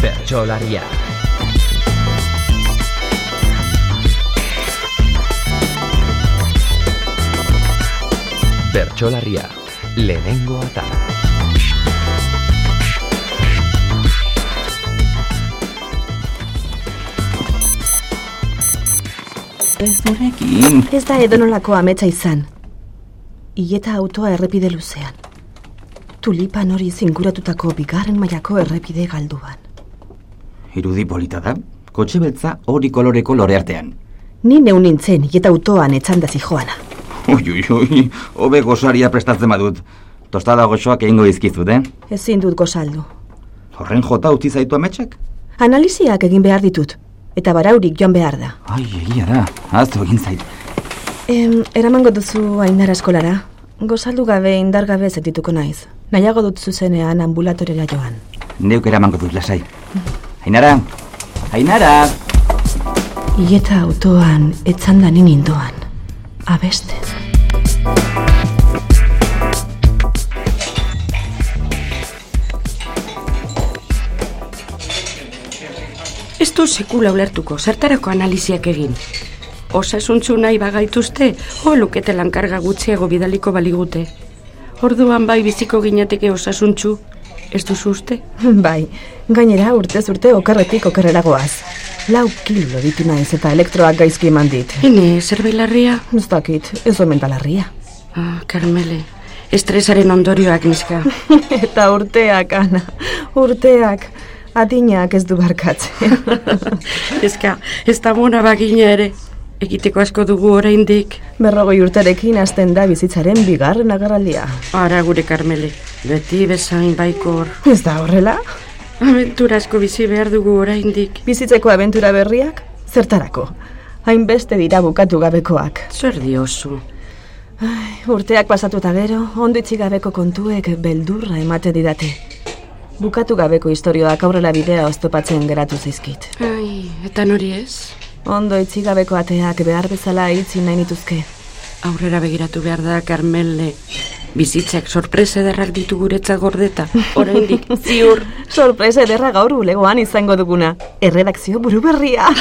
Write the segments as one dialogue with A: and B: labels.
A: bertsolaria. Bertsolaria, lehenengo atala.
B: Ez durekin.
C: Ez da edonolako ametsa izan. Ileta autoa errepide luzean. Tulipan hori zinguratutako bigarren mailako errepide galduan.
B: Irudi polita da, kotxe beltza hori koloreko lore artean.
C: Ni neu nintzen ileta autoan etxanda zijoana.
B: Ui, ui, ui, hobe gozaria prestatzen badut. Tostada goxoak egingo dizkizut, eh?
C: Ezin dut gozaldu.
B: Horren jota utzi zaitu ametsak?
C: Analiziak egin behar ditut, eta baraurik joan behar da.
B: Ai, egia da, aztu egin zait.
C: Em, eramango duzu ainara eskolara. Gozaldu gabe indar gabe zetituko naiz. Nahiago dut zuzenean ambulatorela joan.
B: Neuk eramango dut lasai. Ainara! Ainara!
C: Ieta autoan etzanda ni nindoan. Abesten.
D: Ez du sekula ulertuko, zertarako analiziak egin. Osasuntzu nahi bagaituzte, ho lukete lankarga gutxiago bidaliko baligute. Orduan bai biziko ginateke osasuntzu, ez duzu uste?
C: Bai, gainera urtez urte okerretik okerrera goaz. Lau kilo ditu naiz eta elektroak gaizki eman dit.
D: Hene, zerbait larria?
C: Ez dakit, ez omen da larria.
D: Ah, Carmele, estresaren ondorioak niska.
C: eta urteak, Ana, urteak. Adinak ez du barkatzen.
D: Eska, ez da mona bagina ere. Egiteko asko dugu oraindik.
C: Berrogoi urtarekin hasten da bizitzaren bigarren agerraldia.
D: Ara gure Carmele, beti bezain baikor.
C: Ez da horrela?
D: Aventura asko bizi behar dugu oraindik.
C: Bizitzeko abentura berriak, zertarako? Hainbeste dira bukatu gabekoak.
D: Zer diozu?
C: Urteak pasatu eta gero, ondo itxi gabeko kontuek beldurra emate didate. Bukatu gabeko istorioak aurrela bidea oztopatzen geratu zaizkit.
D: Ai, eta nori ez?
C: Ondo itxi gabeko ateak behar bezala itzi nahi nituzke.
D: Aurrera begiratu behar da, Carmele. Bizitzak sorpresa ederrak ditu guretzat gordeta. Oraindik ziur.
C: Sorpresa ederra gaur bulegoan izango duguna. Erredakzio buru berria.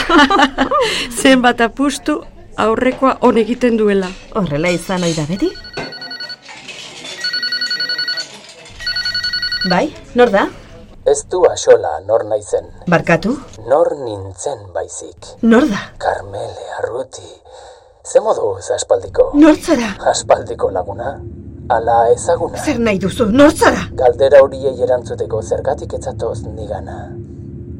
D: Zenbat apustu aurrekoa on egiten duela.
C: Horrela izan ohi da beti? Bai, nor da?
E: Ez du axola nor naizen,
C: Barkatu?
E: nor nintzen baizik.
C: Nor da?
E: Karmele arruti, ze moduz aspaldiko?
C: Nortzara?
E: Aspaldiko laguna, ala ezaguna.
C: Zer nahi duzu? Nortzara?
E: Galdera horiei erantzuteko zergatik etzatoz nigana.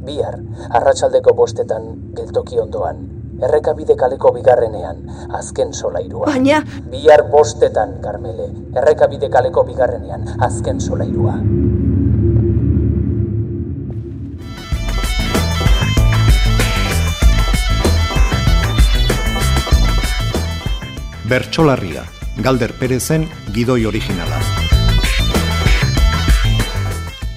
E: Bihar, arratsaldeko bostetan geltoki ondoan, errekabide kaleko bigarrenean, azken solairua.
C: Baina,
E: Bihar bostetan, Karmele, errekabide kaleko bigarrenean, azken solairua.
F: Bertsolarria, Galder Perezen gidoi originala.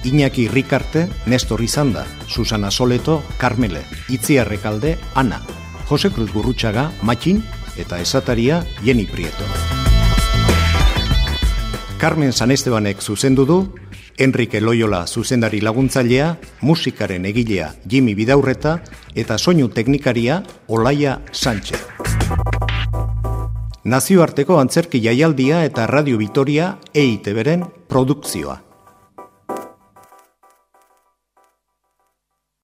F: Iñaki Rikarte, Nestor Izanda, Susana Soleto, Carmele, Itziar Rekalde, Ana, Jose Cruz Gurrutxaga, Matxin, eta esataria Jenny Prieto. Carmen Sanestebanek zuzendu du, Enrique Loyola zuzendari laguntzailea, musikaren egilea Jimmy Bidaurreta eta soinu teknikaria Olaia Sánchez. E Nazioarteko antzerki jaialdia eta Radio Vitoria EITB-ren produkzioa.